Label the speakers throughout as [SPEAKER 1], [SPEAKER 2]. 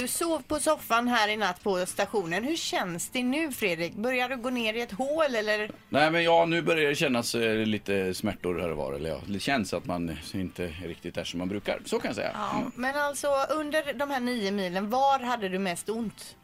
[SPEAKER 1] Du sov på soffan här i natt på stationen. Hur känns det nu Fredrik? Börjar du gå ner i ett hål eller?
[SPEAKER 2] Nej men ja, nu börjar det kännas eh, lite smärtor här och var. Eller ja, det känns att man inte riktigt är som man brukar. Så kan jag säga. Mm.
[SPEAKER 1] Men alltså under de här nio milen, var hade du mest ont?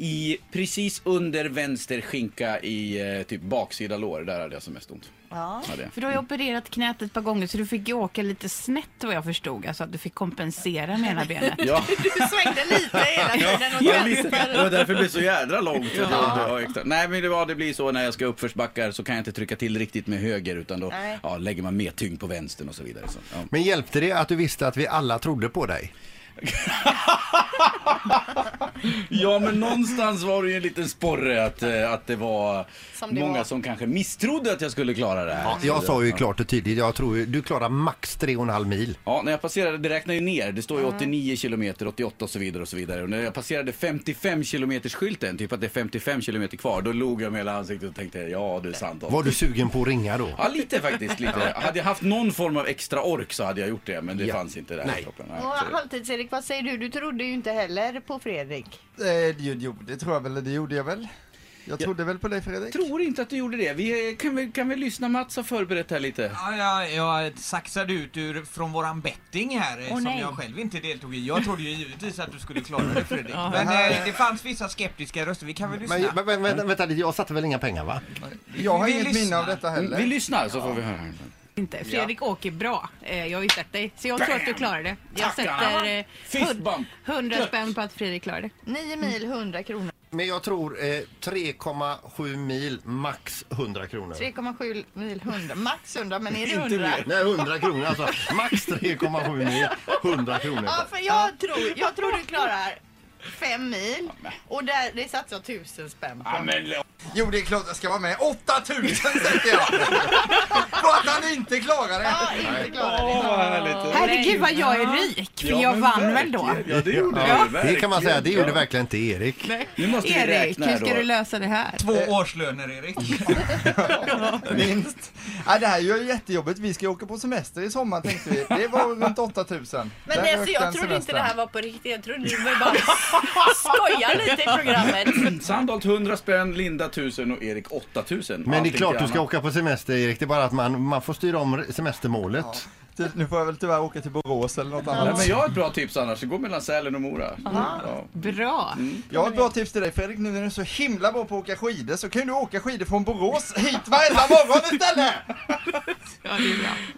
[SPEAKER 2] I, precis under vänster skinka i eh, typ baksida lår, där hade jag som mest ont.
[SPEAKER 1] Ja.
[SPEAKER 2] Hade jag.
[SPEAKER 3] För du har ju opererat knät ett par gånger så du fick ju åka lite snett vad jag förstod. Alltså att du fick kompensera med ena benet.
[SPEAKER 2] Ja.
[SPEAKER 1] Du svängde lite hela tiden åt
[SPEAKER 2] Ja, visst. Det var
[SPEAKER 1] vänster.
[SPEAKER 2] därför det blev så jädra långt. Ja. extra. Nej men det, var, det blir så när jag ska uppförsbackar så kan jag inte trycka till riktigt med höger utan då
[SPEAKER 1] Nej.
[SPEAKER 2] ja, lägger man mer tyngd på vänstern och så vidare. Så, ja.
[SPEAKER 4] Men hjälpte det att du visste att vi alla trodde på dig?
[SPEAKER 2] Ja, men någonstans var det ju en liten sporre att, eh, att det var
[SPEAKER 1] Som det
[SPEAKER 2] många
[SPEAKER 1] var.
[SPEAKER 2] som kanske misstrodde att jag skulle klara det här.
[SPEAKER 4] Ja, jag sa ju klart och tydligt, jag tror ju- du klarar max tre och en halv mil.
[SPEAKER 2] Ja, när jag passerade, det räknar ju ner, det står ju 89 kilometer, 88 och så vidare och så vidare. Och när jag passerade 55 kilometers skylten, typ att det är 55 kilometer kvar, då log jag med hela ansiktet och tänkte ja, du är sant.
[SPEAKER 4] Var du sugen på att ringa då?
[SPEAKER 2] Ja, lite faktiskt. Lite. Hade jag haft någon form av extra ork så hade jag gjort det, men det
[SPEAKER 4] Ja.
[SPEAKER 2] fanns inte där i
[SPEAKER 4] Nej.
[SPEAKER 2] kroppen.
[SPEAKER 1] Och
[SPEAKER 2] Nej, så det-
[SPEAKER 1] halvtids-Erik, vad säger du? Du trodde ju inte heller på Fredrik.
[SPEAKER 5] Eh, jo, jo, det tror jag väl, eller det gjorde jag väl. Jag trodde väl på dig Fredrik?
[SPEAKER 2] Jag tror inte att du gjorde det. Vi, eh, kan, vi, kan vi lyssna? Mats har förberett här lite.
[SPEAKER 6] Ja, ja, jag saxade ut ur, från våran betting här, eh, som
[SPEAKER 3] nej.
[SPEAKER 6] jag själv inte deltog i. Jag trodde ju givetvis att du skulle klara det Fredrik. Men eh, det fanns vissa skeptiska röster, vi kan väl lyssna?
[SPEAKER 4] Men, men, men vänta, vänta lite, jag satte väl inga pengar va?
[SPEAKER 5] jag har
[SPEAKER 6] vi
[SPEAKER 5] inget
[SPEAKER 6] lyssnar.
[SPEAKER 5] minne av detta heller.
[SPEAKER 2] Vi lyssnar så får vi höra.
[SPEAKER 3] Inte. Fredrik åker bra. Eh, Jag har ju sett dig. Så jag tror att du klarar det. Jag
[SPEAKER 2] Tackar.
[SPEAKER 3] sätter eh,
[SPEAKER 2] Fist
[SPEAKER 3] hund-
[SPEAKER 2] bump.
[SPEAKER 3] 100 spänn på att Fredrik klarar det.
[SPEAKER 1] Nio mil, 100 kronor.
[SPEAKER 4] Men jag tror eh, 3,7 mil, max 100 kronor.
[SPEAKER 1] 3,7 mil, 100. Max 100, men är det 100?
[SPEAKER 4] Inte mer. Nej, 100 kronor alltså. Max 3,7 mil, 100 kronor.
[SPEAKER 1] Ja, för jag tror, jag tror du klarar fem mil och där, det satsar tusen spänn på.
[SPEAKER 2] Ja, men,
[SPEAKER 5] Jo, det är klart jag ska vara med. 8000 sätter jag! För att han inte klarar det!
[SPEAKER 1] Ja, inte klarar det.
[SPEAKER 3] Herregud vad jag är rik. För jag vann väl då.
[SPEAKER 2] Ja, det gjorde
[SPEAKER 4] Ja, det kan man säga, det gjorde verkligen inte Erik.
[SPEAKER 2] Nu måste vi
[SPEAKER 3] Erik,
[SPEAKER 2] räkna
[SPEAKER 3] hur
[SPEAKER 2] här
[SPEAKER 3] ska du
[SPEAKER 2] då.
[SPEAKER 3] lösa det här?
[SPEAKER 6] Två
[SPEAKER 4] eh,
[SPEAKER 6] årslöner Erik.
[SPEAKER 5] Minst. Ja, det här är ju jättejobbigt. Vi ska ju åka på semester i sommar tänkte vi. Det var runt 8000.
[SPEAKER 7] Men
[SPEAKER 5] Där
[SPEAKER 7] det,
[SPEAKER 5] rök
[SPEAKER 7] alltså,
[SPEAKER 5] den
[SPEAKER 7] jag trodde inte
[SPEAKER 5] semestern.
[SPEAKER 7] det här var på riktigt. Jag trodde du bara skojar lite i programmet.
[SPEAKER 2] Sandholt 100 spänn, Linda 1000 och Erik 8000.
[SPEAKER 4] Men det är
[SPEAKER 2] Allting
[SPEAKER 4] klart du
[SPEAKER 2] till
[SPEAKER 4] ska
[SPEAKER 2] Anna.
[SPEAKER 4] åka på semester Erik, det är bara att man, man får styra om semestermålet.
[SPEAKER 5] Ty- Typ, Nu får jag väl tyvärr åka till Borås eller något
[SPEAKER 2] Nej,
[SPEAKER 5] annat.
[SPEAKER 2] men jag har ett bra tips annars, gå mellan Sälen och Mora. Ja.
[SPEAKER 3] Bra.
[SPEAKER 2] Mm.
[SPEAKER 5] Jag har ett bra tips till dig Fredrik, nu när du är så himla bra på att åka skidor så kan du åka skidor från Borås hit varenda morgon istället!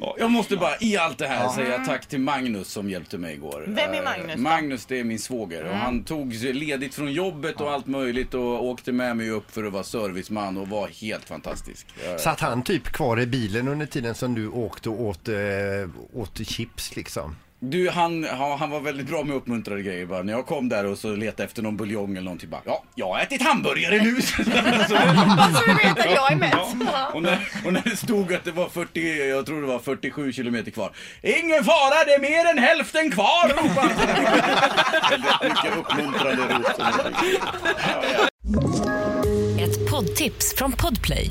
[SPEAKER 2] Ja, Jag måste bara i allt det här säga tack till Magnus som hjälpte mig igår.
[SPEAKER 1] Vem är
[SPEAKER 2] Eh,
[SPEAKER 1] Magnus då?
[SPEAKER 2] Magnus det är min svåger
[SPEAKER 3] Mm.
[SPEAKER 2] och han tog sig ledigt från jobbet och allt möjligt och åkte med mig upp för att vara serviceman och var helt fantastisk. Ja, ja.
[SPEAKER 4] Satt han typ kvar i bilen under tiden som du åkte och åt, eh, åt chips liksom?
[SPEAKER 2] Du, han, ja, han var väldigt bra med uppmuntrande grejer bara. När jag kom där och så letade efter någon buljong eller någonting bara. Ja, jag har ätit hamburgare nu! Så-
[SPEAKER 1] Bara så Alltså, du vet att jag är mätt.
[SPEAKER 2] Ja. Och, när, och när det stod att det var 40, jag tror det var 47 kilometer kvar. Ingen fara, det är mer än hälften kvar! ropade han. Väldigt mycket uppmuntrande rop. som jag fick.
[SPEAKER 8] Ett poddtips från Podplay.